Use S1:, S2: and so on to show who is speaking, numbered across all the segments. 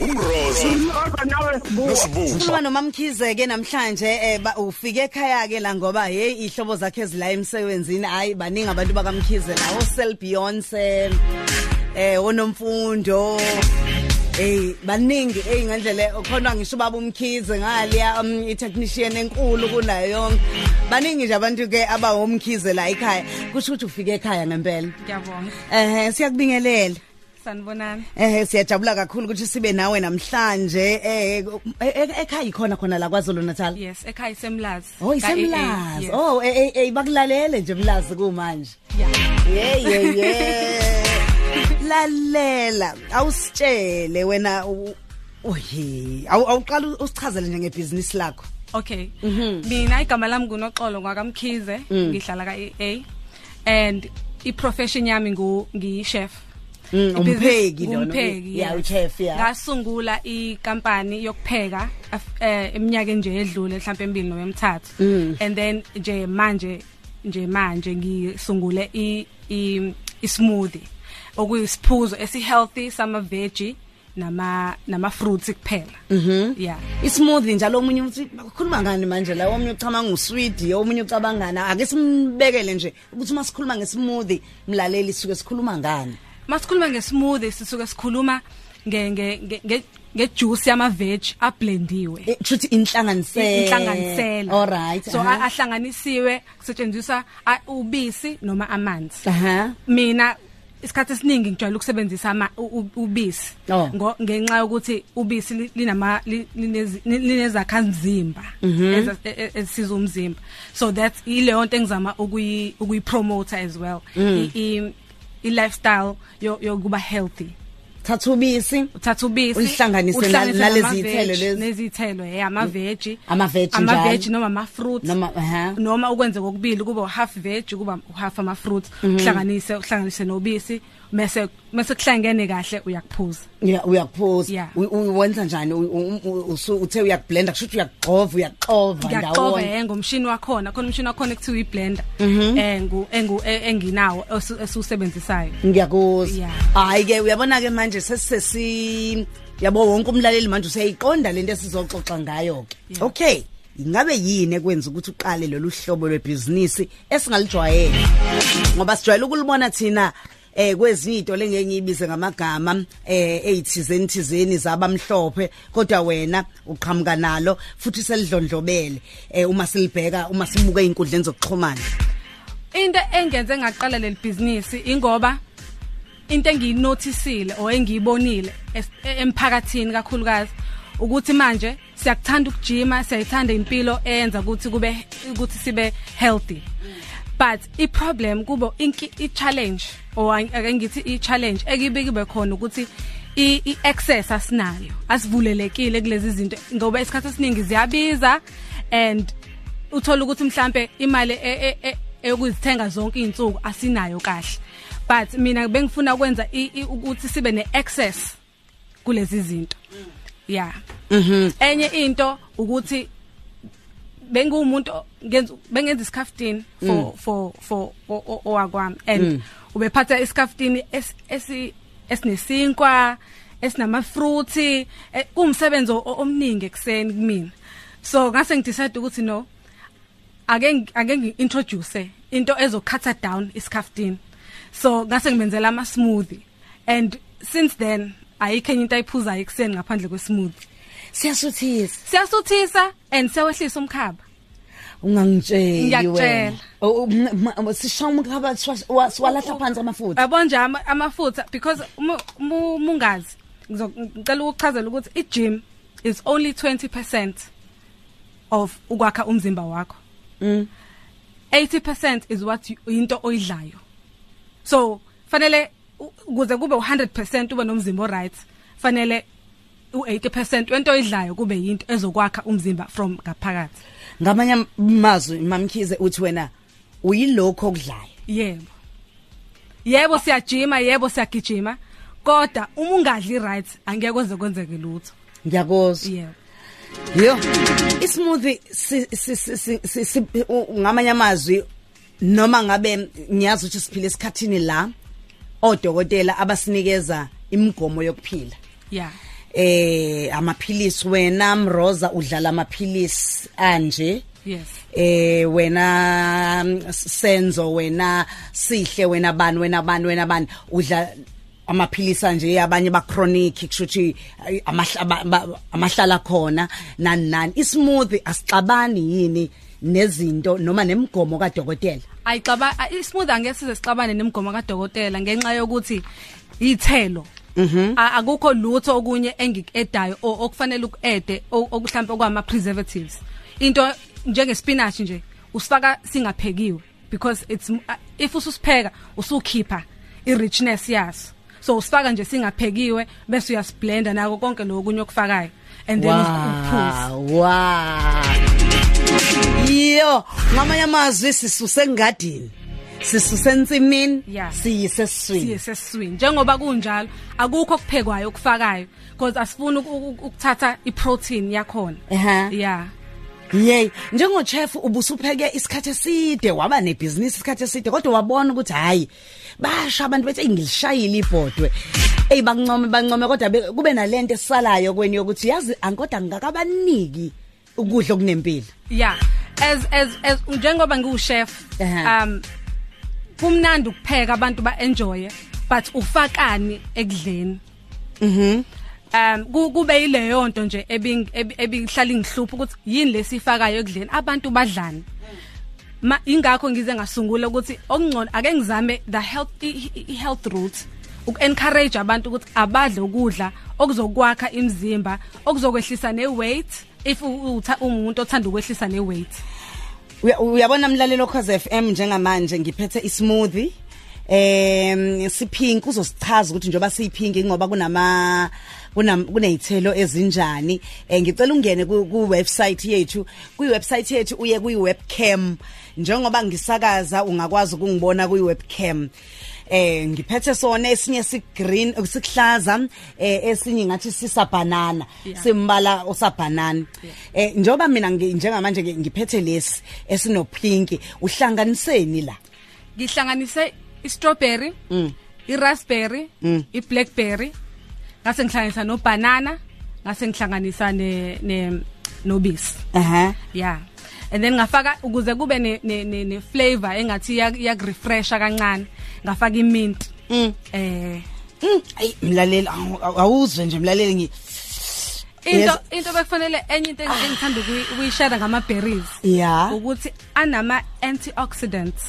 S1: Ntombazane.
S2: Kodwa nawe sibuya.
S1: Nosibuka.
S3: Ukhuluma nomamkhizeke namhlanje eh ba- ufike ekhaya ke la ngoba hey ihlobo zakhe ezila emsebenzini hayi baningi abantu bakamkhize la osel Beyonce eh onomfundo Hey baningi hey ngandlela khona ngisho baba umkhize ngaliya um, i technician enkulu kunayo yonke baningi nje abantu ke aba homkhize la ekhaya kusho ukuthi ufike ekhaya ngempela
S4: Ngiyabonga.
S3: eh siyakubingelela
S4: Sanibonani.
S3: Eh siyajabula kakhulu ukuthi sibe nawe namhlanje eh e- e- ekhaya ikhona khona la kwaZulu Natal.
S4: Yes, ekhaya semlazi.
S3: Oh
S4: Ka- AA,
S3: isemlazi.
S4: yes.
S3: Oh eh eh, eh bakulalele nje mlazi kumanje.
S4: Yeah.
S3: Yeah yeah yeah. Lalela awusitshele wena u- ohe awu- awuqala usichazele nje ngebusiness lakho.
S4: Okay.
S3: Mm-hmm.
S4: Mina igama lami nguNoxolo ngwakamkhize,
S3: Mm.
S4: ngihlala ka AA and iprofession yami ngu ngiyichef.
S3: Mm, umpheki
S4: lo.
S3: lona.
S4: Umpheki.
S3: Yeah,
S4: yes.
S3: uchef, yeah.
S4: Ngasungula ikampani yokupheka af- eh, eminyakeni nje edlule mhlawumbe emibili noma
S3: Mm.
S4: emithathu. And then nje manje nje manje ngisungule i i i smoothie okuyisiphuzo esihealthy sama veggie nama nama fruits kuphela. Mhm.
S3: Mm-hmm.
S4: Yeah.
S3: Ismoothie njalo omunye uthi ukukhuluma ngani manje la omunye ucabanga ngusweet omunye ucabangana ake simbekele nje ukuthi masikhuluma ngesmoothie mlaleli sike sikhuluma ngani.
S4: Masikhuluma ngesmoothie sisuke sikhuluma nge nge nge- nge ngejuice yama veg ablendiwe.
S3: futhi inhlanganisela
S4: inhlanganisela
S3: Eh, all right uh-huh.
S4: so a- ahlanganisiwe kusetshenziswa a- ubisi noma amanzi
S3: aha
S4: mina isikhathi esiningi ngijwayele ukusebenzisa ama- u- u- ubisi
S3: Oh.
S4: Ngo- ngenxa yokuthi ubisi li- linama li- linezi- li- linezakhamzimba
S3: Mhm.
S4: eza- e- e- ezisiza umzimba so that's ileyo nto engizama ukuyi ukuyipromote as well
S3: Mm.
S4: I- i i lifestyle yokuba healthy
S3: thatha ubisi
S4: uthatha ubisi
S3: Ulihlanganise na-
S4: uhlanganise
S3: nalezi
S4: nama-veg,
S3: iy'thelo lezi.
S4: nezithelo yeah ama veggie
S3: Ama veg
S4: ama
S3: njalo.
S4: veg noma ama fruits
S3: Noma, aha.
S4: noma ukwenze kokubili kuba half veg kuba half ama fruits uhlanganise uhlanganise nobisi mase mase kuhlangene kahle uyakuphuza
S3: Yeah, uyakuphuza
S4: Yeah.
S3: U- u- uwenza njani U- u- u- usu- uthe uyakublenda kusho ukuthi uyagxova uyaxova
S4: ngiyaxova
S3: ndawonye
S4: eh ngomshini wakhona khona umshini wakhona ekuthiwa iblender eh ngu engu e- enginawo osu- esiwusebenzisayo
S3: ngiyakuzwa
S4: Yeah.
S3: hayi ke uyabona ke manje sesisesi yabo wonke umlaleli manje useyiqonda lento esizoxoxa ngayo ke
S4: Yeah.
S3: okay ingabe yini ekwenza ukuthi uqale lolu hlobo lwebhizinisi esingalijwayele ngoba sijwayele ukulibona thina eh kwezinto lengeke ngiyibize ngamagama eh eyithizeni thizeni zabamhlophe kodwa wena uqhamuka nalo futhi selidlondlobele eh uma silibheka uma sibuka inkundleni zokuxhumana
S4: into engenze ngaqala leli business ingoba into engiyinotisile or engiyibonile es- e- emphakathini kakhulukazi ukuthi manje siyakuthanda ukujima siyathanda impilo eyenza ukuthi kube ukuthi sibe healthy but i problem kubo inki i challenge or ang- ake ngithi i challenge ekibikwe khona ukuthi i i- access asinayo asivulelekile kulezi zinto ngoba isikhathi esiningi ziyabiza and uthola ukuthi mhlambe imali e- e- e- eyokuzithenga zonke izinsuku asinayo kahle but mina bengifuna ukwenza i- i- ukuthi sibe neaccess kulezi zinto yeah mhm enye into ukuthi bengumuntu ngenza bengenza iskaftin for for for o- o- owakwami and ubephatha iskaftin esi esinesinkwa esinama fruits kumsebenzi e, o- omningi ekseni kimi so ngase ngidecide ukuthi no ake ngi- ake ngiintroduce into ezokhatha down iskaftin so ngase ngimenzela ama smoothie and since then ayikho enye into ayiphuza ekseni ngaphandle kwe smoothie
S3: siyasuthisa
S4: siyasuthisa and sewehlisa umkhaba
S3: ungangitsheli
S4: Ngiyakutshela.
S3: Oh, wena sishawa umkhaba
S4: Oh,
S3: siwalahla phansi amafutha
S4: yabo nje ama- amafutha because uma- uma- uma ungazi ngizo- ngicela ukuchazela ukuthi i-gym is only 20% of ukwakha umzimba wakho
S3: Mm.
S4: 80% is what you- into oyidlayo so fanele u- ukuze kube u100% ube nomzimba oright fanele u80% wento oyidlayo kube yinto ezokwakha umzimba from ngaphakathi
S3: ngamanye amazwi mamkhize uthi wena uyilokho okudlayo
S4: yebo yebo siyajima yebo siyagijima kodwa uma ungadli right angeke kuze kwenzeke lutho
S3: ngiyakuzwa
S4: yebo
S3: yo ismoothie si- si- si- si- si- si- u- ngamanye amazwi noma ngabe ngiyazi ukuthi siphile esikhathini la odokotela abasinikeza imigomo yokuphila
S4: yeah
S3: eh amaphilisi wena mroza udlala amaphilisi anje
S4: yes
S3: eh wena mm, S- senzo wena sihle wena bani wena bani wena bani udla amaphilisi anje abanye ba chronic kushuthi ay, amahla- ba- ba- amahlala khona nani nani ismoothie asixabani yini nezinto noma nemgomo kadokotela
S4: ayixaba a- ismooth angeke size sixabane nemigomo kadokotela ngenxa yokuthi ithelo A- akukho lutho okunye engikuedayo o- okufanele ukuede okuhlampe okwama preservatives into njenge spinach nje usifaka singaphekiwe because it's a- if ususipheka usukhipha i richness yaso so usifaka nje singaphekiwe bese uyasiblender nako konke lokunye okufakayo and then uphuza
S3: wow wow yo ngamanye amazwi sisuse ngadini sisuse entsimini
S4: Yeah.
S3: siyise siswini
S4: siyeseswini njengoba kunjalo akukho okuphekwayo okufakayo because asifuni uku- uku- ukuthatha iprotein yakhona
S3: Ehhe.
S4: yeah
S3: yey njengochef ubusupheke isikhathi eside waba nebhizinisi isikhathi eside kodwa wabona ukuthi hhayi basha abantu bethi eyi ngilishayile ibhodwe eyi bancome bancome kodwa be- kube nale nto esalayo kweni yokuthi yazi ankoda ngingakabaniki ukudla okunempilo
S4: yeah as as as njengoba ngiwuchef
S3: Ehhe.
S4: um kumnandi ukupheka abantu ba enjoy but ufakani ekudleni
S3: mhm
S4: um ku- kube ileyo nto nje ebing- ebi- ebihlala ingihlupha ukuthi yini lesifakayo ekudleni abantu badlani ma ingakho ngize ngasungula ukuthi okungcono ake ngizame the health i- i- i- health route ukencourage abantu ukuthi abadle ukudla okuzokwakha imizimba okuzokwehlisa neweight if u- utha- umuntu othanda ukwehlisa neweight
S3: Uya- uyabona mlalelo cause FM njengamanje ngiphethe ismoothie em siphinki uzosichaza ukuthi njoba siyiphinki ngoba kunama kunam- kuneyithelo ezinjani Eh, ngicela ungene ku ku website yethu ku website yethu uye ku webcam njengoba ngisakaza ungakwazi ukungibona ku webcam eh ngiphethe sona esinye si green sikhlaza eh esinye ngathi sisa banana
S4: Yeah.
S3: simbala osabhanana eh njoba mina ngi- njengamanje ngi- ngiphethe lesi esino pink uhlanganiseni la
S4: ngihlanganise i-strawberry i-raspberry i-blackberry ngase ngihlanganisa nobanana ngase ngihlanganisa ne- ne- nobisi
S3: aha
S4: yeah and then ngafaka ukuze kube ne ne, ne, ne flavor engathi yakurefresha kancane ngafaka imint
S3: Mm.
S4: eh
S3: Mm, ayi mlaleli awu- awu- awuzwe nje mlaleli ngi
S4: into
S3: Yes.
S4: into bekufanele enye into engi- engithanda ukuyi- ukuyishara ngama berries
S3: ya
S4: ukuthi anama antioxidants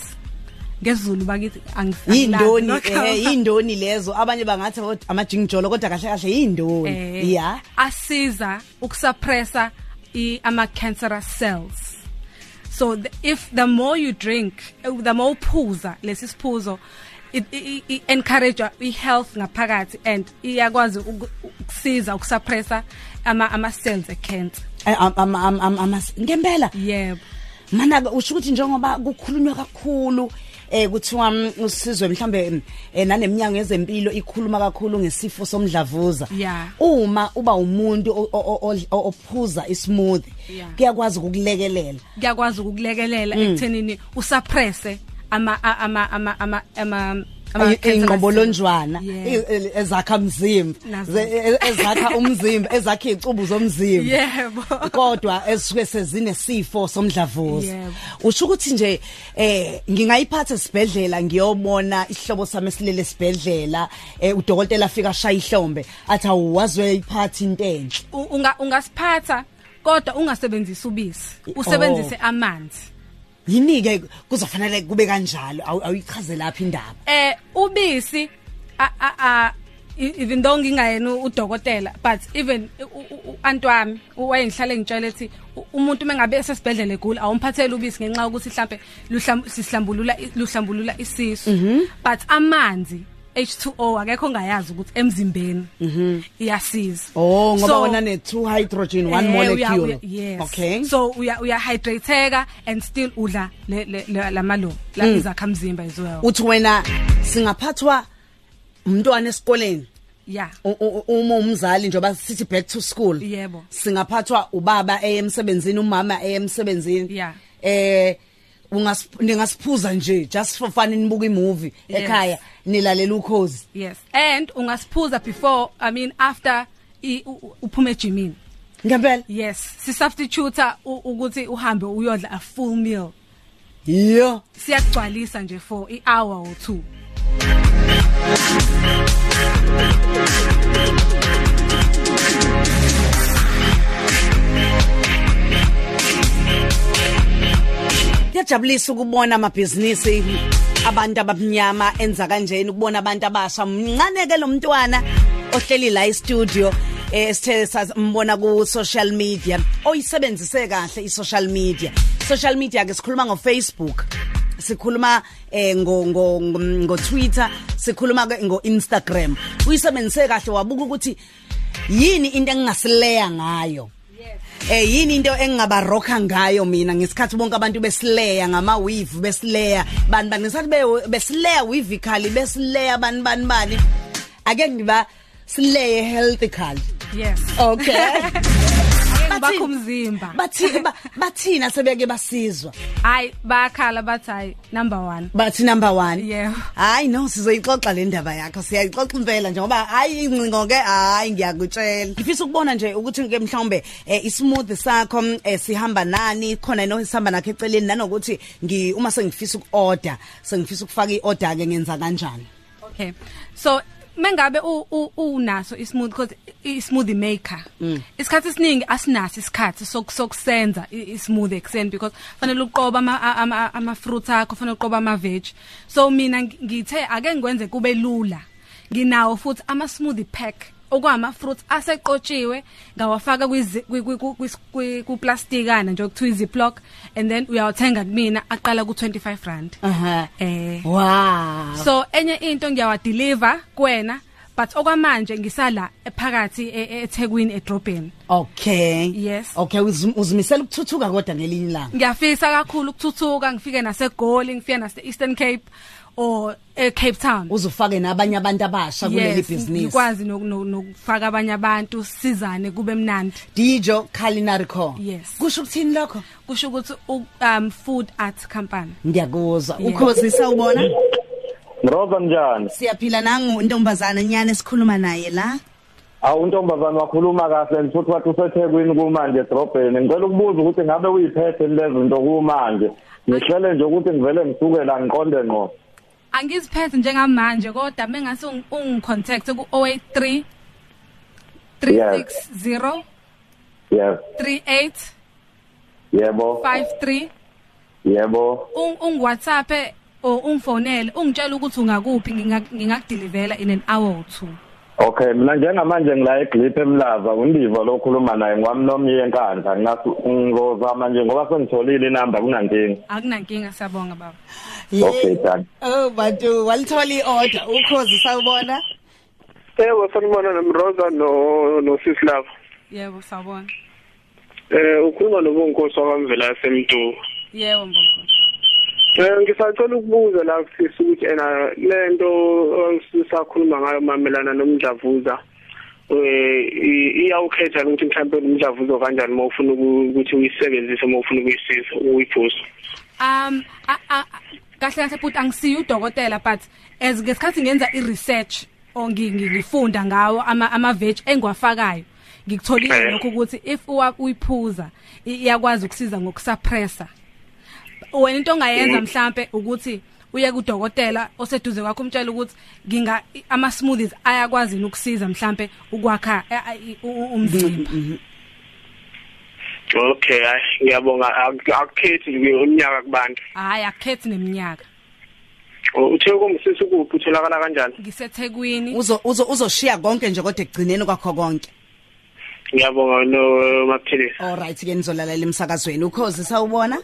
S4: ngezulu bakithi angisazi
S3: yindoni eh yindoni lezo abanye bangathi "Oh, amajingjolo kodwa kahle kahle yindoni ya
S4: Eh, asiza ukusuppressa i- ama cancerous cells so the, if the more you drink eh, the more uphuza lesi siphuzo it i- i- encourage i health ngaphakathi and iyakwazi uku- ukusiza ukusuppressa ama ama cells e cancer
S3: Eh, am- am- am- am- am- ngempela
S4: yebo
S3: mana ke usho ukuthi njengoba kukhulunywa kakhulu eh kuthiwa mm, usizwe mhlambe eh, naneminyango yezempilo ikhuluma kakhulu ngesifo somdlavuza
S4: Yeah.
S3: uma uba umuntu o- o- o- o- ophuza ismoothie
S4: Yeah.
S3: kuyakwazi ukukulekelela
S4: kuyakwazi ukukulekelela
S3: Mm.
S4: ekuthenini usuppresse ama a- ama ama ama ama
S3: Eh,
S4: ama cancerous
S3: ingqobolonjwana
S4: cells.
S3: i-
S4: Yes.
S3: e- ezakha mzimba
S4: Nazo.
S3: ze- e- ezakha umzimba ezakha icubu zomzimba
S4: yebo
S3: kodwa esisuke sezinesifo somdlavuza
S4: Yebo.
S3: usho ukuthi nje eh ngingayiphatha esibhedlela ngiyobona isihlobo sami esilele esibhedlela eh udokotela afika ashaya ihlombe athi awuwazwe iphathi into enhle
S4: U- unga ungasiphatha kodwa ungasebenzisi ubisi usebenzise amanzi
S3: yini ke kuzofanele kube kanjalo Awu- awuyichaze lapha indaba
S4: eh ubisi a a a e- even though ngingayena udokotela but even antwami wayengihlale ngitshela ethi u- umuntu mengabe esesibhedlele egula awumphathele ubisi ngenxa ukuthi mhlambe luhlam- sihlambulula i- luhlambulula
S3: Mhm.
S4: isisu but amanzi H2O akekho ongayazi ukuthi emzimbeni iyasiza
S3: Mhm. oh ngoba
S4: So-
S3: wona ne two hydrogen one
S4: Eh, uya-
S3: molecule
S4: uya- yes
S3: okay
S4: so uya uya hydrateeka and still udla le- le- le- lamalo la
S3: Hmm.
S4: izakhamzimba as well
S3: uthi wena singaphathwa umntwana esikoleni
S4: yeah
S3: u- u- uma umzali njoba sithi back to school
S4: Yebo.
S3: singaphathwa ubaba emsebenzini umama emsebenzini
S4: Yeah.
S3: eh ungas ningasiphuza nje just for fun nibuka imovie
S4: Yes.
S3: ekhaya nilalela ukhozi
S4: yes and ungasiphuza before i mean after i- u- u- uphume ejimini
S3: ngempela
S4: yes sisubstitute ukuthi uhambe uyodla a full meal
S3: yho
S4: siyagcwalisa nje for i-hour or two
S3: kuyajabulisa ukubona amabhizinisi abantu abamnyama enza kanjeni ukubona abantu abasha mncane-ke lo mntwana ohleli la istudio eh sithe sasimbona ku-social media oyisebenzise kahle i-social media social media ke sikhuluma ngo-facebook sikhuluma eh ngo ngo ngo- ngo-Twitter sikhuluma ke ngo-Instagram uyisebenzise kahle wabuka ukuthi yini into engingasileya ngayo Eh yini into engingabarokha ngayo mina ngesikhathi bonke abantu besileya ngama weave besileya bani bani ngesikhathi be- besileya weavically besileya bani bani bani ake ngiba sileye healthically
S4: yes
S3: okay Oh,
S4: Ake ngibakhe
S3: Bathini-
S4: umzimba
S3: bathi ba- bathina sebeke basizwa
S4: hayi bayakhala bathi hayi number one
S3: bathi number 1
S4: Yeah.
S3: hayi no sizoyixoxa le ndaba yakho siyayixoxa impela njengoba hayi incingo ke hayi ngiyakutshela ngifisa ukubona nje ukuthi ke mhlawumbe eh, ismoothie sakho mm, eh, sihamba nani khona no sihamba nakho eceleni nanokuthi ngi uma sengifisa uku-order sengifisa ukufaka i-order ke ngenza kanjani
S4: Okay. So mengabe u- u- unaso ismoothie cause ismoothie maker. Isikhathi esiningi asinaso isikhathi sok- sokusenza i- ismoothie ekseni because fanele uqoba ama ama- ama fruits akho, fanele uqoba ama veg. So mina ngi- ngithe ake ngikwenze kube lula. Nginawo futhi ama smoothie pack okwama fruits aseqotshiwe ngawafaka kwizi- kwi- kwi- kwi- kwis- kwi- kuplastikana nje okuthiwa iziplock and then uyawuthenga kumina aqala ku25 rand
S3: aha
S4: eh
S3: wow
S4: so enye into ngiyawadeliver kuwena but okwamanje ngisala ephakathi e- e- eThekwini edrobheni
S3: okay
S4: Yes.
S3: okay uzim- uzimisela ukuthuthuka kodwa ngelinye ilanga
S4: ngiyafisa kakhulu ukuthuthuka ngifike naseGoli ngifike nase Eastern Cape or e Cape Town
S3: uzufake nabanye abantu abasha kuleli bhizinisi
S4: ngikwazi nok- nok- nokufaka abanye abantu sizane kube mnandi
S3: dijo culinary co
S4: Yes.
S3: kusho ukuthini lokho
S4: kusho ukuthi u- um food art company
S3: ngiyakuzwa
S4: Yeah.
S3: ukhozisa ubona
S1: Mroza njani?
S3: siyaphila nangu intombazana nyana esikhuluma naye la
S1: Awu untombazana wakhuluma kahle and futhi wathi usethekwini kumanje edrobheni. Ngicela ukubuza ukuthi ngabe uyiphethe yini lezi zinto kumanje. Ngihlele nje ukuthi ngivele ngisuke la ngiqonde ngqo.
S4: angiziphethe njengamanje kodwa mengase ung- ungicontact ku 083 360
S1: Yes.
S4: 38
S1: Yebo.
S4: 53
S1: Yebo.
S4: ung- ungiwhatsapp e or ungifonele ungitshela ukuthi ungakuphi nginga- ngingakudilivela in an hour or two
S1: Okay, mina njengamanje ngila eGlip eMlava, undivo lokhuluma naye ngwamnomiye enkandla. Nginathi ngizozama nje ngoba sengitholile inamba kunankingi.
S4: akunankinga siyabonga baba
S1: Okay, done.
S3: oh bantu walithola i-order ukhozisa ubona
S2: Ewe sanibona nomroza no nosisilava.
S4: yebo sawubona
S2: Eh ukhuluma nobonkosi wakamvela yasemduku.
S4: yebo mbongo
S2: Eh ngisacela ukubuza la kusisi ukuthi ena lento sisakhuluma ngayo mamelana nomdlavuza eh i- iyawukhetha ukuthi mhlawumbe umdlavuza kanjani mawufuna ukuthi uyisebenzise mawufuna ukuyisiza uyiphuza.
S4: um a- a- a- kahle kahle but angisiyo udokotela but as ngesikhathi ngenza i-research or ngi- ngi- ngifunda ngawo ama- ama-veg engiwafakayo ngikutholile
S2: Eh.
S4: lokho ukuthi if uwa- uyiphuza i- iyakwazi ukusiza ngokusuppressa wena into ongayenza mhlambe ukuthi uye kudokotela oseduze kwakho umtshela ukuthi nginga i- ama-smoothies ayakwazi yini ukusiza mhlambe ukwakha eh, eh, i- u- u- umzimba
S2: Okay, hayi ngiyabonga Ak- akukhethi nje umnyaka kubantu.
S4: hhayi akukhethi neminyaka
S2: Uthe kumsisi kuphi utholakala kanjani?
S4: ngisethekwini
S3: Uzo- uzo- uzoshiya konke nje kodwa ekugcineni kwakho konke
S2: Ngiyabonga no maphilisi.
S3: allright ke nizolalela emsakazweni ukhozisa ubona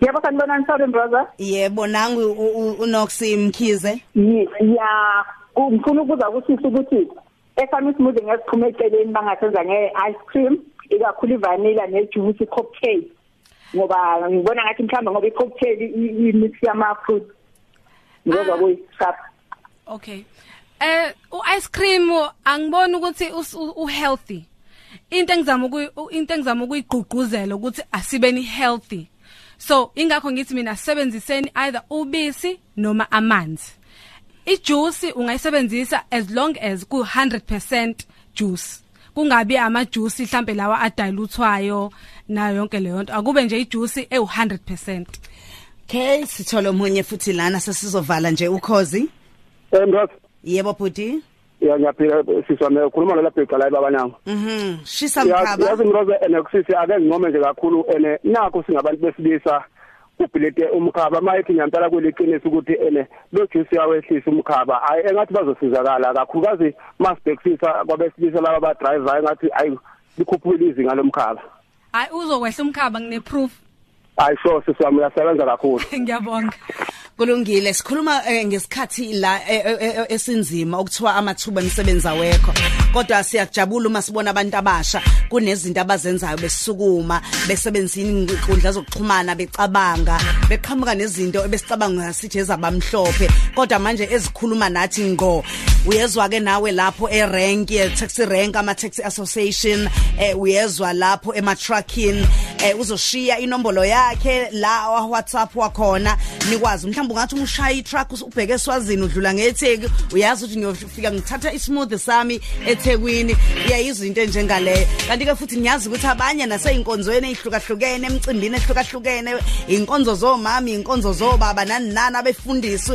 S5: yebo sanibonani sorry brother
S3: yebo nangu u- u- unoxi mkhize
S5: Ye- ya ku- ngifuna ukuza kusisa ukuthi esami smoothie ngesiphume eceleni bangasenza nge-ice cream ikakhulu ivanilla nejuice i-cocktail ngoba ngibona ngathi mhlawumbe ngoba i-cocktail i- i-mix yama-fruit ngoba
S4: Ah.
S5: kuyisisapha
S4: Okay. Eh u-ice cream angiboni ukuthi us- u- u-healthy. Into engizama ukuy u- into engizama ukuyigqugquzela ukuthi asibeni healthy. So ingakho ngithi mina sebenziseni either ubisi noma amanzi. Ijuice ungayisebenzisa as long as ku 100% juice kungabi amajuice mhlambe lawa adayiluthwayo nayo yonke leyo nto akube nje ijuice ewu100%
S3: okay sithola omunye futhi lana sesizovala nje ukhozi
S2: Emros
S3: yebo bhuti
S2: ngiyaphila siswane ukhuluma nolapha eqala ebabanyango
S3: mhm shisa
S2: Ya- yazi
S3: mkhaba
S2: mroze ene kusisi ake nginqome nje kakhulu ene nakho singabantu besilisa ubhilete umkhaba mayithi ngiyampela kweliqiniso ukuthi ene lo juice yawehlisa umkhaba hayi engathi bazosizakala kakhulukazi masibhekisisa kwabesilisa laba abadrayivayo engathi hayi likhuphukile izinga lomkhaba
S4: hayi uzokwehla umkhaba ngine proof
S2: hayi sure sisi wami uyasebenza kakhulu
S4: ngiyabonga
S3: kulungile sikhuluma eh, ngesikhathi la eh, eh, eh, esinzima okuthiwa amathuba emsebenza wekho kodwa siyajabula uma sibona abantu abasha kunezinto abazenzayo besukuma besebenzisa inkundla zokuxhumana becabanga beqhamuka nezinto ebesicabanga sithi ezabamhlophe kodwa manje ezikhuluma nathi ngo uyezwa ke nawe lapho erank ye taxi rank ama taxi association eh, uyezwa lapho ema trucking eh, uzoshiya inombolo yakhe la wa WhatsApp wakhona nikwazi mhlawumbe ungathi umshaya i truck ubheke eSwazini udlula ngeTheki uyazi ukuthi ngiyofika ngithatha ismoothie sami eThekwini iyayizwa into enjengaleyo kanti ke futhi ngiyazi ukuthi abanye naseyinkonzweni ezihlukahlukene emcimbini ehlukahlukene inkonzo zomama inkonzo zobaba nani nani abefundisi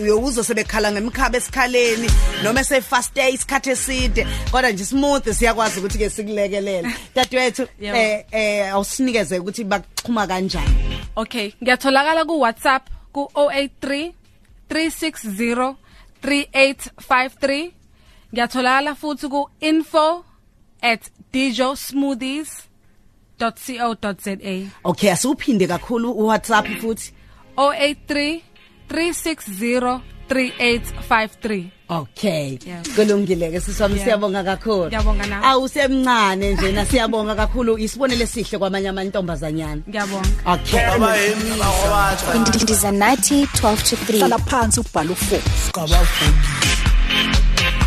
S3: uyowuzo sebekhala ngemkhaba esikhaleni noma esefast day isikhathe eside kodwa nje smooth siyakwazi ukuthi ke sikulekelela dadewethu
S4: Yebo.
S3: eh eh awusinikeze ukuthi bakuxhuma kanjani
S4: okay ngiyatholakala ku WhatsApp ku 083 360 3853 ngiyatholakala futhi ku info@dijosmoothies.co.za
S3: okay asiwuphinde kakhulu uwhatsapp futhi
S4: 083 360 3853
S3: Okay.
S4: Yeah.
S3: Kulungile ke sisami
S4: Yeah.
S3: siyabonga kakhulu.
S4: Ngiyabonga nami.
S3: Awusemncane nje na siyabonga kakhulu isibonele sihle kwamanye amantombazanyana.
S4: ngiyabonga
S3: Okay.
S6: Ndiza nathi 12 to 3.
S7: hlala phansi ubhala u4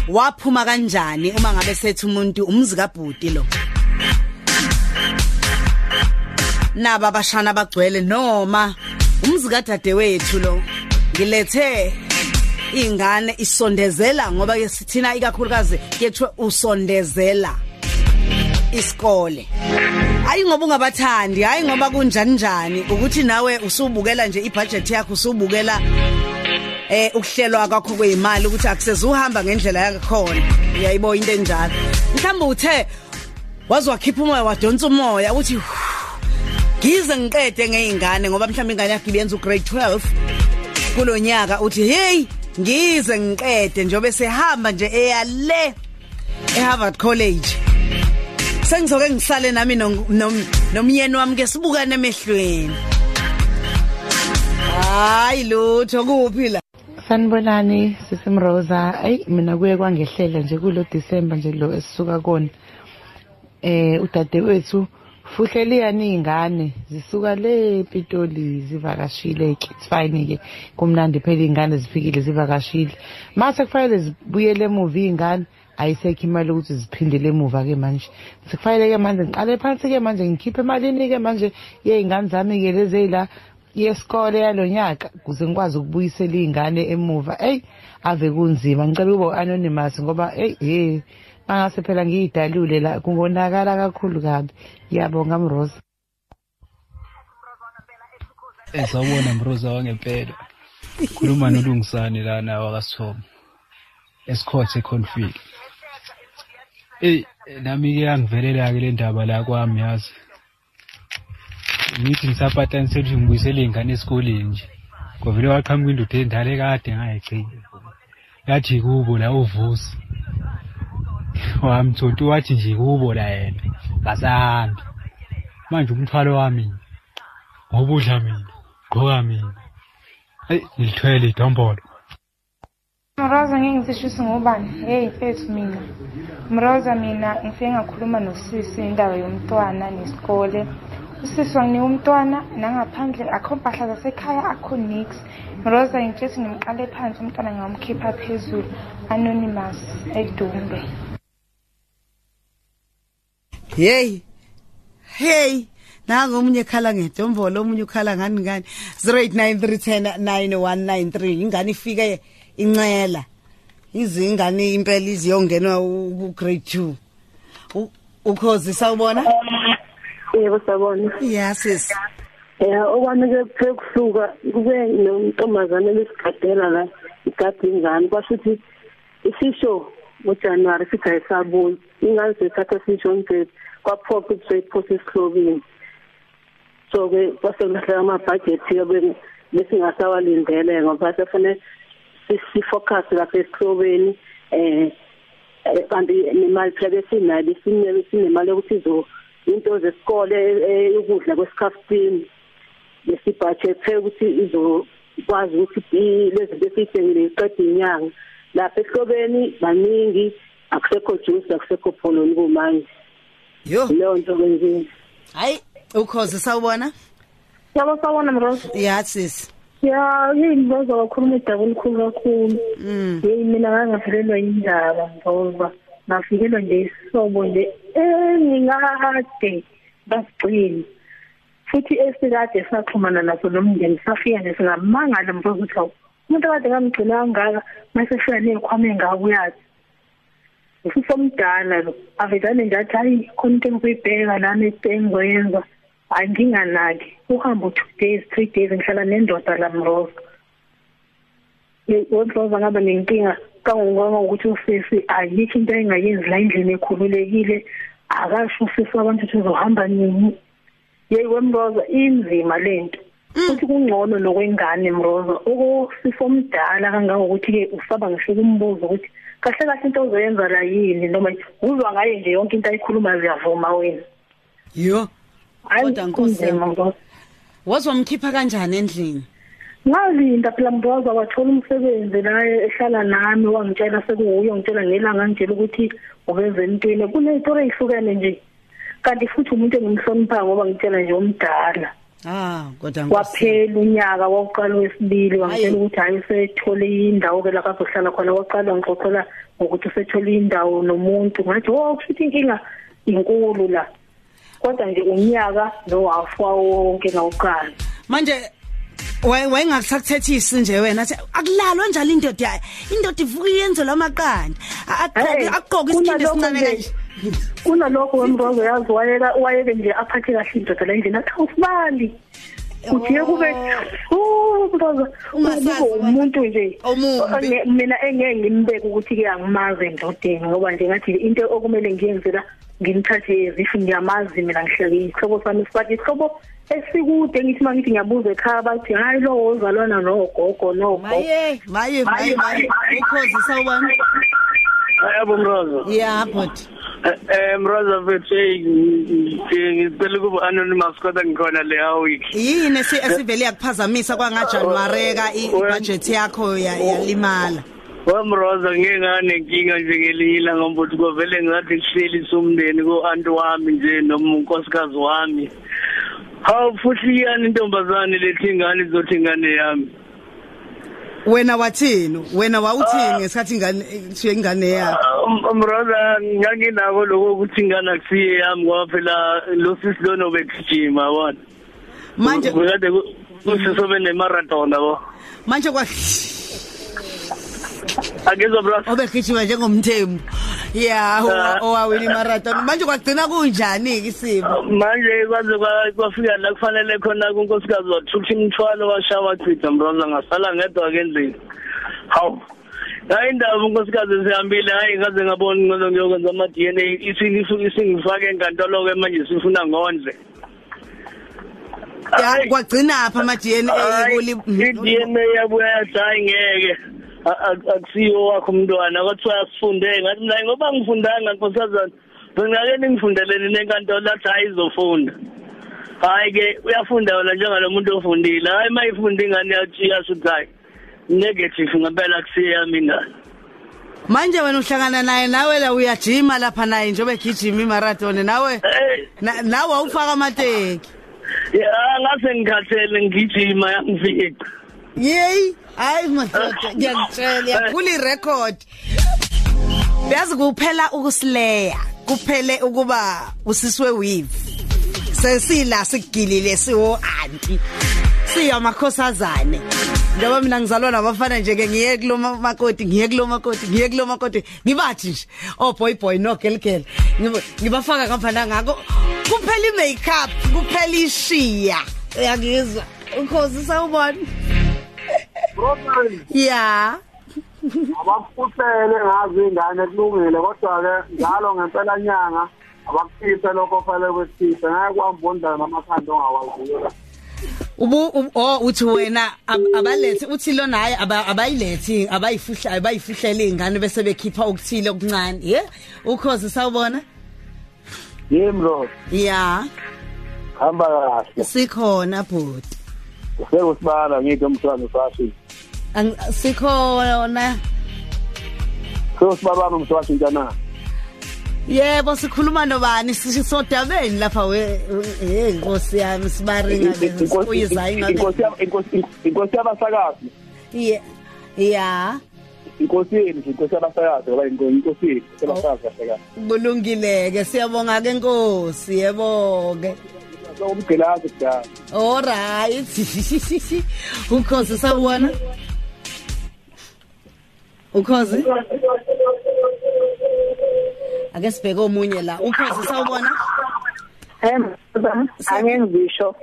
S3: Waphuma kanjani uma ngabe sethu umuntu umzi kaBhuti lo? Naba abashana bagcwele noma umzi kadadewethu lo. Ngilethe ingane isondezela ngoba ke sithina ikakhulukazi kethu usondezela isikole. hayi ngoba ungabathandi hayi ngoba kunjani njani ukuthi nawe usubukela nje ibudget yakho usubukela eh ukuhlelwa kwakho kweimali ukuthi akuseze uhamba ngendlela yakhona uyayibo into enjalo mhlawumbe uthe wazwakhipha umoya wadonsa umoya uthi "Hu, ngize ngiqede ngeingane ngoba mhlawumbe ingane yakho ibenza ugrade 12 kulonyaka uthi hey ngize ngiqede njobe sehamba nje eyale eHarvard College sengizoke ngisale nami no- nom- nomyeni wami ke sibukane emehlweni hayi lutho kuphi la
S8: Sanibonani sisimroza ayi mina kuye kwangehlela nje kulo December nje lo esisuka kona eh udade wethu fuhleli yani ingane zisuka le Pitoli zivakashile kitsfine ke kumnandi phela ingane zifikile zivakashile mase kufanele zibuyele emuva ingane ayisekho imali ukuthi ziphindele emuva ke manje sekufanele ke manje ngiqale phansi ke manje ngikhiphe emalini ke manje yey'ngane zami ke lezi ey'la yesikole yalonyaka kuze ngikwazi ukubuyisela iy'ngane emuva eyi ave kunzima ngicela ukuba u-anonymous ngoba eyi ye mangase phela ngiyidalule la kungonakala kakhulu kabi ngiyabonga mrosa
S9: Eh sawubona Mroza wangempela. Ukhuluma nolungisani lana wakasithoma. Esikhothe config. Eh nami ke yangivelela ke le ndaba la kwami yazi. Ngithi ngisaphatha ngisethi ngibuyisele ingane esikoleni nje. Kwavele waqhamuka indoda endala ekade ngayigcina. Yathi kubo la uvusi. Wamthonto wathi nje kubo la yena. Basambi. Manje umthwalo wami nje. ngobudla mina gqoka mina eyi ngilithwele idombolo
S10: Mroza ngeke ngisishise ngubani? Hey mfethu mina. Mroza mina ngifike ngakhuluma nosisi indaba yomntwana nesikole. Usisi wanginika umntwana nangaphandle akho mpahla zasekhaya akho nix. Mroza ngitshethi ngimqale phansi umntwana ngamkhipha phezulu anonymous edumbe.
S3: hey hey nangu omunye ekhala ngedombolo omunye ukhala ngani ngani 0893109193 ingane ifike incela izingane impela iziyongena ku grade 2 U- ukhozi sawubona
S7: Yebo sabona.
S3: yasis
S7: Eh okwami-ke kuthe kusuka kube nomntombazane lesigadela la igadi ingane kwasho ukuthi isisho ngojanuwari sithi ayisabuyi ingane zithatha sisho mthetho kwaphoqa ukuthi soyiphose esihlobini so-ke kwasekulahleka amabhajethi-ke be- besingasawalindele ngoba sefune sifocus lapha esihlobeni um kanti nemali phela besinayo besinye- sinemali yokuthi izo- into zesikole eh, eh, ukudla kwesikhafutini nesibhajethe ukuthi izokwazi ukuthi i- lezi zinto esiyidingile iqede inyanga lapha ehlobeni baningi akusekho juice akusekho poloni kumanje
S3: yo
S7: leyo nto kwenzile
S3: hayi ukhozi sawubona
S11: yabo sawona mroso
S3: yasis
S11: ya yeyi mroso wakhuluma udaba olukhulu kakhulu yeyi mina ngangavelelwa yindaba ngoba ngafikelwa nje isobo nje engingakade basigcine futhi esikade saxhumana naso nomndeni safika nje singamangala mroso ukuthi hawu umuntu akade ngamgcina kangaka masefika ney'khwama engako uyazi futhi omdala lo avedane nje athi hayi khona into engizuyibheka nami engizoyenza hayi nginganaki uhambe u-two days three days ngihlala nendoda lamroza wemroza ngaba nenkinga kangongonga ukuthi usisi ayikho into engayenzi la endlini ekhululekile akasho usisi wabantu ukuthi uzohamba nini yeyi wemroza inzima le nto
S3: Mm.
S11: futhi kungcono nokwengane mroza ukusifo omdala kangangokuthi-ke usaba ngisho kumbuzo ukuthi kahle kahle into ozoyenza la yini noma uzwa ngaye nje yonke into ayikhuluma ziyavuma wena
S3: yo kodwa nkosi yami.
S11: kunzima,
S3: wazomkhipha kanjani endlini
S11: ngalinda phela mboza wathola umsebenzi la ehlala nami wangitshela sekuwuyo ngitshela ngelanga angitshela ukuthi ubenze empilo kuney'tori ey'hlukene nje kanti futhi umuntu engimhlonipha ngoba ngitshela nje omdala
S3: ah kodwa nkosi
S11: kwaphela unyaka wakuqala wesibili wangitshela ukuthi hhayi usethole indawo-ke lapho azohlala khona waqala wangixoxela ngokuthi usethole indawo nomuntu ngathi wo kusho ukuthi inkinga inkulu la kodwa nje unyaka nohafu wawo wonke ngawuqala
S3: manje waye- wayengakusakuthethisi nje wena athi akulalwa njalo indoda yayo indoda ivuka iyenzelwa amaqanda A- agqoke- agqoke isikhindi esincane kanje
S11: kunalokho wemrozo yazi wayeka wayeke nje aphathe kahle indoda la endlini athi awusibali ujiye kube umrozo kube umuntu nje Onge- mina engeke ngimbeke ukuthi-ke angimazi endodeni ngoba nje ngathi into okumele ngiyenze la ngimthathe ezifi ngiyamazi mina ngihleke isihlobo sami sibathi isihlobo esikude ngithi uma ngithi ngiyabuza ekhaya bathi hhayi lowo ozalwana nogogo nogogo
S3: maye maye maye maye ukhozi sawubona
S12: Yebo Mrozo.
S3: ya bot
S12: Eh Mrozo futhi hey, ngi- ngicela ukuba anonymous kodwa ngikhona le week.
S3: yini esi- esivele yakuphazamisa kwangajanuwareka ibhajethi yakho ya- yalimala
S12: Wemrozo ngeke nganenkinga nje ngelinye ilanga mbuthi kovele ngathi ngihleli somndeni ko-anti wami nje noma unkosikazi wami. Hawu futhi iyani intombazane lethi ingane izothi ingane yami.
S3: wena wathini wena wawuthini ngesikhathi ingane thiye ingane yakho
S12: Um, Mroza nganginako lokho ukuthi ingane akusiye yami ngoba phela lo sisi lona obegijima yabona.
S3: Manje-
S12: bekade ku- kusisi obenemarathon yabo.
S3: manje kwa
S12: Angizwa bro.
S3: Obegijima njengomthembu.
S12: Ah.
S3: Yeah, owa- owawina imarathon. Manje kwagcina kunjani ke isimo?
S12: manje kwaze kwa- kwafika la kufanele khona kunkosikazi wathutha imithwalo washaya wachitha mronza ngasala ngedwa ke endlini hawu hayi indaba unkosikazi sihambile hayi ngaze ngaboni ngcono ngiyokwenza ama-d n a isingifake enkantolo-ke manje sifuna ngondle
S3: Ya kwagcina apha ama DNA kuli
S12: i-d n a yabuya yathi hayi ngeke a- a- akusiyo wakho umntwana kwathiwa asifunde ngathi mna ngoba ngifundanga nkosazana bengake ningifundeleni nenkantolo athi hayi izofunda hayi ke uyafunda wona njengalo muntu ofundile hayi uma ifunda ingane yasho ukuthi hayi negative ngempela akusiyo yami ingane
S3: Manje wena uhlangana naye nawe la uyajima lapha naye njengoba egijima imarathon nawe na- nawe awufaka amateki.
S12: Ya, ngase ngikhathele ngigijima yangifica
S3: Yey, hayi madoda ngiyakutshela yakhula irecord. Beyazi kuphela ukusileya, kuphele ukuba usiswe weave. Sesila sikugilile siwo anti. usiya makhosazane ngoba mina ngizalwa nabafana nje-ke ngiye kulo ma- makoti ngiye kulo makoti ngiye kulo makoti ngibathi nje oboy boy nogelgel Ngiba- ngibafaka kamfana ngako kuphela i-makeup kuphela ishiya uyangizwa ukhosi sawubona ya
S13: abakufuhlele ngazi ingane kulungile kodwa-ke njalo ngempelanyanga abakukhiphe lokho fanele kwesikhiphe ngeke kwambondana namakhanda ongawaziyo la
S3: ubu u- oh uthi wena ab- abalethi uthi lona hayi aba- abayilethi abayifuhla abayifuhlela izingane bese bekhipha okuthile okuncane ye ukhozi sawubona
S2: yimi lo
S3: ya
S2: hamba kahle
S3: sikhona bhuti
S2: sekusibala ngithi umswane sashi
S3: Ang- sikhona
S2: sekusibabani umswashi ntana
S3: yebo sikhuluma nobani sisodabeni lapha we hey inkosi yami sibaringa ngesifuyiza
S2: inkosi
S3: ingabe
S2: yab- inkosi- inkosi yabasakazi
S3: ye ya
S2: inkosini nje inkosi yabasakazi ngoba inko- inkosini inkosi yabasakazi kahle kahle
S3: bulungileke siyabonga ke inkosi yebonke
S2: umgilazi kudala
S3: all right ukhozi sawubona ukhozi ake sibheke omunye la ukhozi sawubona
S11: angengisho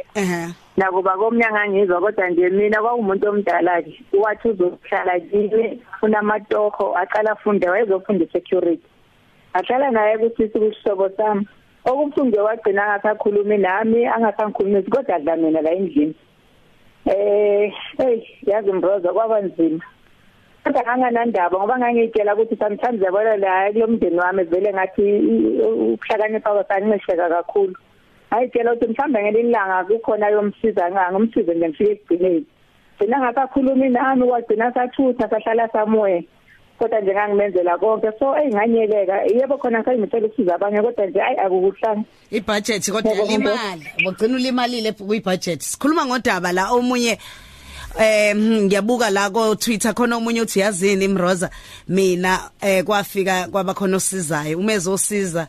S11: nakuba komnyanga angizwa kodwa nje mina kwakumuntu omdala nje wathi uzohlala kimi unamatoho aqala afunde wayezofunda security ahlala naye kusisi kusihlobo sami okubuhlungu wagcina angasakhulumi nami angasangikhulumisi kodwa adla mina la endlini eh hey yazi mbroza kwaba nzima kodwa nganganandaba ngoba ngangiyitshela ukuthi sometimes yabona la kulo mndeni wami vele ngathi i- i- ukuhlakanipha kwasangincisheka kakhulu ngayitshela ukuthi mhlawumbe ngelinye ilanga kukhona yomsiza nga ngomsize nje ngifike ekugcineni gcina ngasakhulumi nami kwagcina sathutha sahlala samoya kodwa nje ngangimenzela konke so eyi nganyekeka yebo khona sengimisela ukusiza abanye kodwa nje hayi akukuhlanga
S3: ibhajethi kodwa limali ugcina ulimalile kwi-budget sikhuluma ngodaba la omunye um ngiyabuka la ko-twitter khona omunye uthi yazini mroza mina um kwafika kwaba khona osizayo uma ezosiza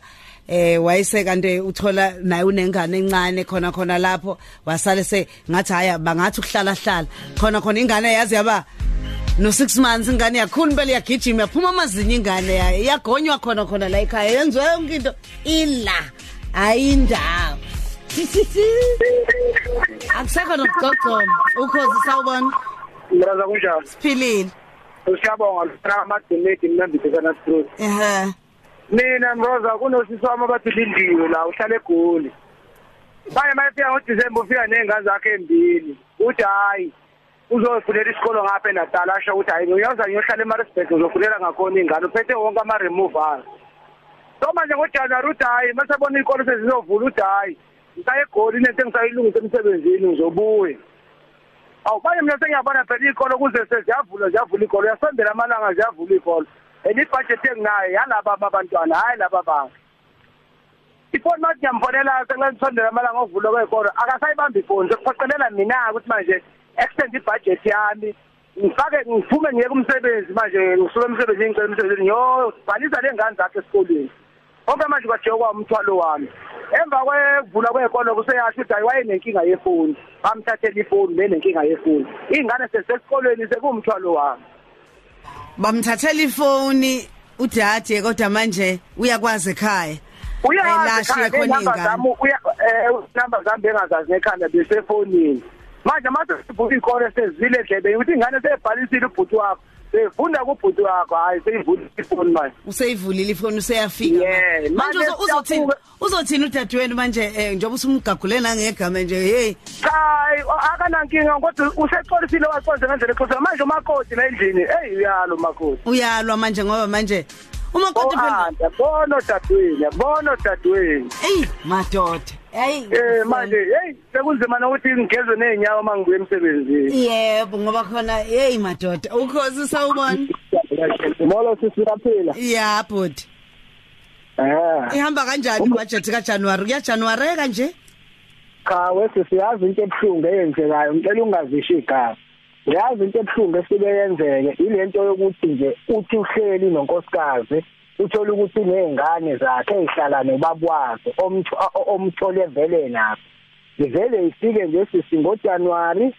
S3: um wayesekanti uthola naye unengane encane khona khona lapho wasale se ngathi hhayi bangathi ukuhlalahlala khona khona ingane yazi yaba no-six months ingane yakhulu impela yagijima yaphuma amazinyo ingane yayo yagonywa khona khona la ekhaya yenziwe yonke into ila ayindawo akusekho nokugcogcoma ukhozi sawubona
S13: mraza kunjani
S3: siphilile
S13: siyabonga lona amadonati mnambisana strut
S3: ehe
S13: mina mroza kunosisi wami abathi lindiwe la uhlala egoli manje mayefika ngodisemba ufika ney'ngane zakhe embili uthi hhayi uzovulela isikolo ngapha enatala asho ukuthi hhayi ngiyoza ngiyohlala emarisburg ngizovulela ngakhona iy'ngane uphethe wonke ama-removal so manje ngojanuwari uthi hhayi masebona iy'kolo sezizovula uthi hhayi ngisaye egoli nento engisayilungisa emsebenzini ngizobuye awu manje mina sengiyabona phela iy'kolo kuze seziyavula ziyavula iy'kolo uyasondela amalanga ziyavula iy'kolo and ibhajethi enginayo yalaba ababantwana hhayi laba bantu ifoni mathi ngiyamfonela sekusondela amalanga ovula kwey'kolo akasayibambi ifoni sekuphoqelela mina-ke ukuthi manje extend ibhajethi yami ngifake ngiphume ngiye kumsebenzi manje ngisuke emsebenzini ngicela emsebenzini ngiyobhalisa le ngane zakhe esikolweni konke manje kwajeke kwamthwalo wami emva kwekuvula kwey'kolo kuseyasho ukuthi hayi wayenenkinga yefoni bamthathela ifoni benenkinga yefoni iy'ngane sezisesikolweni sekuwumthwalo wami
S3: bamthathela ifoni udade kodwa manje uyakwazi ekhaya
S13: uyazi
S3: Ayilashe
S13: ekhaya
S3: khona
S13: namba
S3: ingane.
S13: zami uya eh, namba zami engazazi nekhanda besefonini manje mase sivuka ikole sezile dlebe ukuthi ingane seyibhalisile ubhuti wakho seyifunda kubhuti wakho hayi seyivula ifoni manje
S3: useyivulile ifoni useyafika
S13: Yeah,
S3: manje
S13: manje
S3: uzo- uzothini uzothini udadewenu manje um njengoba usumgagule nangegama nje heyi
S13: hayi akanankinga kodwa usecolisile waconze ngendlela exhosa manje umakoti la endlini eyi uyalo makoti
S3: uyalwa manje ngoba manje umakoti
S13: phela bona odadewenu yabona odadewenu
S3: eyi madoda eyi
S13: eh manje eyi sekunzima nokuthi ngigezwe ney'nyawo uma ngibuye emsebenzini
S3: yebo ngoba khona heyi madoda ukhosi sawubona
S14: molo sisiyaphila
S3: ya bhuti
S14: eh
S3: ihamba kanjani ibhajethi kajanuwari kuyajanuwareka nje
S14: cha wese siyazi into ebuhlungu eyenzekayo ngicela ungazisho igama uyazi into ebuhlungu esibe yenzeke ilento yokuthi nje uthi uhleli nonkosikazi uthola ukuthi uney'ngane zakhe ey'hlala nobaba wazo omtho- o- o- omthole vele nakho ivele ifike nje sisi ngojanuwari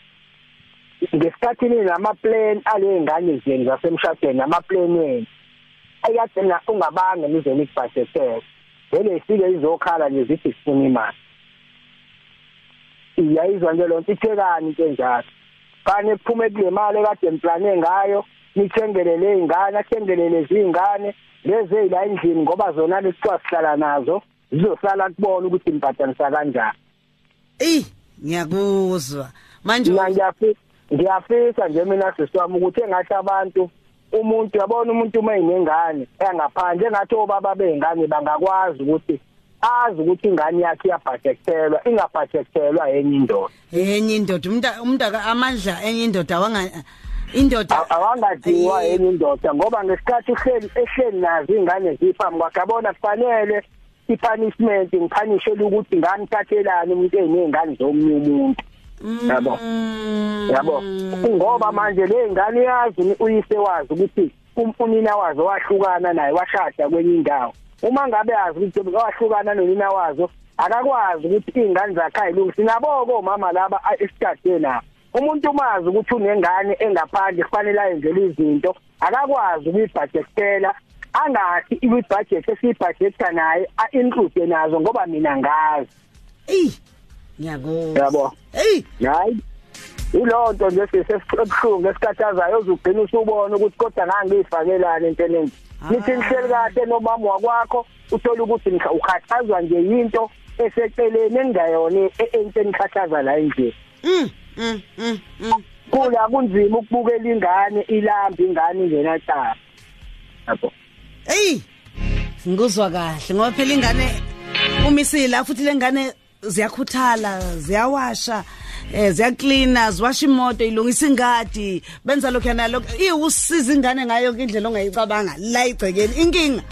S14: ngesikhathi ninamaplan aley'ngane zenu zasemshadweni namaplan wenu ayikade na ungabange nize nikubhajethele vele ifike izokhala nje zithi sifuna imali iyayizwa nje loo nto ithekani ke njalo kane kuphume kule mali ekade niplane ngayo nithengelele iy'ngane athengelele ziy'ngane lezi ey'la endlini ngoba zona lekuthiwa sihlala nazo zizosala kubona ukuthi nibhadanisa kanjani
S3: eyi ngiyakuzwa manje
S14: mina ngiyafi- ngiyafisa nje mina sisi wami ukuthi engathi abantu umuntu yabona umuntu uma enengane engaphandle engathi obaba bey'ngane bangakwazi ukuthi azi ukuthi ingane yakhe iyabhajekthelwa ingabhajekthelwa enye indoda
S3: enye indoda umntu- umntu aka- amandla enye indoda awanga- indoda
S14: awangadliwa enye indoda ngoba ngesikhathi uhleli ehleli nazo iy'ngane ziphambi kwakhe abona kufanele i-punishment ngiphanishele ukuthi ngamthathelani umuntu ey'ney'ngane zomunye umuntu yabo yabo ngoba manje le ngane yazi ni- uyise wazi ukuthi um- unina wazo wahlukana naye washada kwenye indawo uma ngabe yazi ukuthi njengoba wahlukana nonina wazo akakwazi ukuthi iy'ngane zakhe ayilungisi nabo-ke omama laba a- esigade nabo umuntu umazi ukuthi unengane engaphandle kufanele ayenzele izinto akakwazi ukuyibhajektela angathi ikwibhajethi esiyibhajetha naye a-include nazo ngoba mina ngazi
S3: eyi ngiyakuzwa
S14: yabo
S3: eyi
S14: hayi yiloo nto nje sise ebuhlungu esikhathazayo uze ugcine usubona ukuthi kodwa ngangiyifakelani into eningi nithi nihleli kahle nomama wakwakho uthole ukuthi nikha- ukhathazwa nje yinto eseceleni engayona e- into enikhathaza la endlini
S3: mm,
S14: kula kunzima ukubukela ingane ilamba ingane ingenacala yabo
S3: eyi ngikuzwa kahle ngoba phela ingane uma isila futhi le ngane ziyakhuthala ziyawasha um ziyaklina ziwasha imoto ilungisa ingadi benza lokhu yanalokhu iwusiza ingane ngayo yonke indlela ongayicabanga la egcekeni inkinga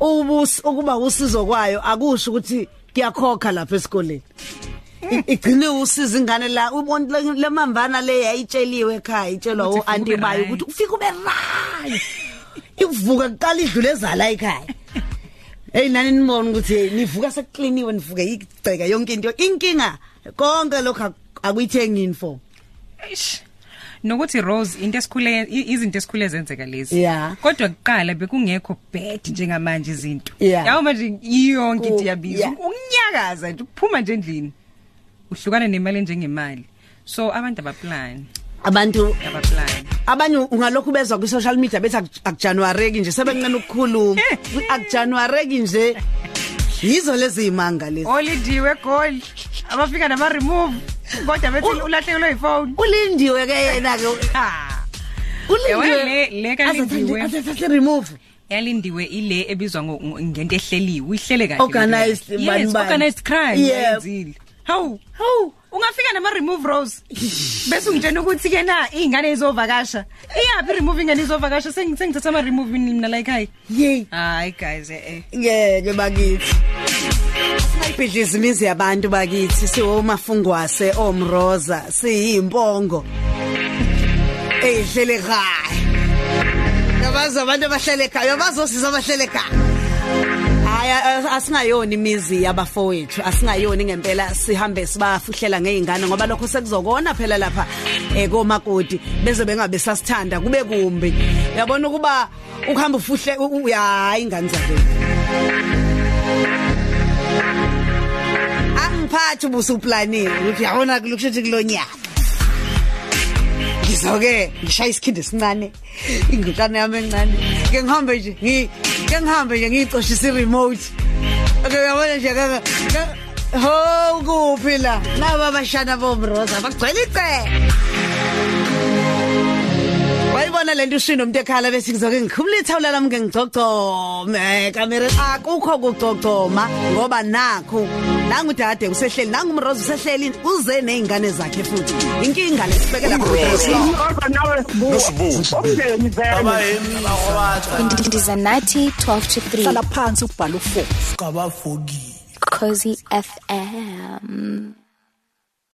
S3: ubus- ukuba usizo kwayo akusho ukuthi kuyakhokha lapha esikoleni I- igcine usiza ingane la ubon- le le mambana le yayitsheliwe ekhaya itshelwa o-anti bayo ukuthi ufike ube right ivuka kuqala idlule ezala ekhaya eyi nani nibona ukuthi hey, nivuka sekukliniwe nivuke igceka yonke into inkinga konke lokhu ak- akuyithengi info
S15: Eish. nokuthi rose into esikhule i- izinto esikhule zenzeka lezi
S3: Yeah.
S15: kodwa kuqala bekungekho bad njengamanje izinto
S3: Yeah.
S15: yawo manje iyonke
S3: Ku-
S15: into iyabizwa
S3: yeah.
S15: ukunyakaza nje ukuphuma nje endlini uhlukana nemali enjengemali so abantu abaplani
S3: abantu
S15: abaplani
S3: abanye ungalokhu bezwa kwi-social media bethi ak- akujanuwareki nje sebencena ukukhuluma akujanuwareki nje yizo lezi yimanga lezi
S15: olidiwe goli abafika nama-remove kodwa bethi ulahlekelwe yifoni
S3: ulindiwe ke yena-ke
S15: le le kalindiwe
S3: Azathi- azathi remove
S15: yalindiwe ile ebizwa ngo- ngo- ngento ehleliwe uyihlele kahle
S3: Organised,
S15: Yes,
S3: bani bani.
S15: organized crime
S3: Yeah.
S15: yenzile hawu hawu ungafika nama-remove rose bese ungitshena ukuthi-ke na iy'ngane izovakasha iyaphi i-remove ingane izovakasha Sengi- sengithatha ama-remove ini mina la ekhaya
S3: yey
S15: hayi guys eh, e-e
S3: ngeke bakithi ayibhidliza imizi yabantu bakithi siwomafungwase omroza siyimpongo eyihlele ekhaya yabazi abantu abahlele ekhaya yabazosiza abahlele ekhaya hayi a- a- asingayoni imizi yabafowethu asingayoni ngempela sihambe sibafuhlela ngey'ngane ngoba lokho sekuzokona phela lapha um komakoti beze bengabe sasithanda kube kumbi uyabona ukuba ukuhamba ufuhle u- u- ya ingane zakeni angiphathi ubusuplanile ukuthi yabona kulokushuthi kulonyaka ngizoke ngishaya isikhindi esincane ingutane yami encane ke ngihambe nje ngi- ke ngihambe nje ngiyicoshise i-remote ke uyabona nje ke- ke- ho kuphi la naba abashana bomroza bagcwele icele wayibona le nto ushini umuntu ekhala bethi ngizoke ngikhumula ithawula lami ke ngigcogcome kamere akukho kugcogcoma ngoba nakho nangudade usehleli nangumroza usehleli uze ney'ngane zakhe futhi inkinga lesibekela
S6: Ndiza 90 12 to 3.
S16: hlala phansi ubhala u-four sikabavukile
S6: Cozy FM.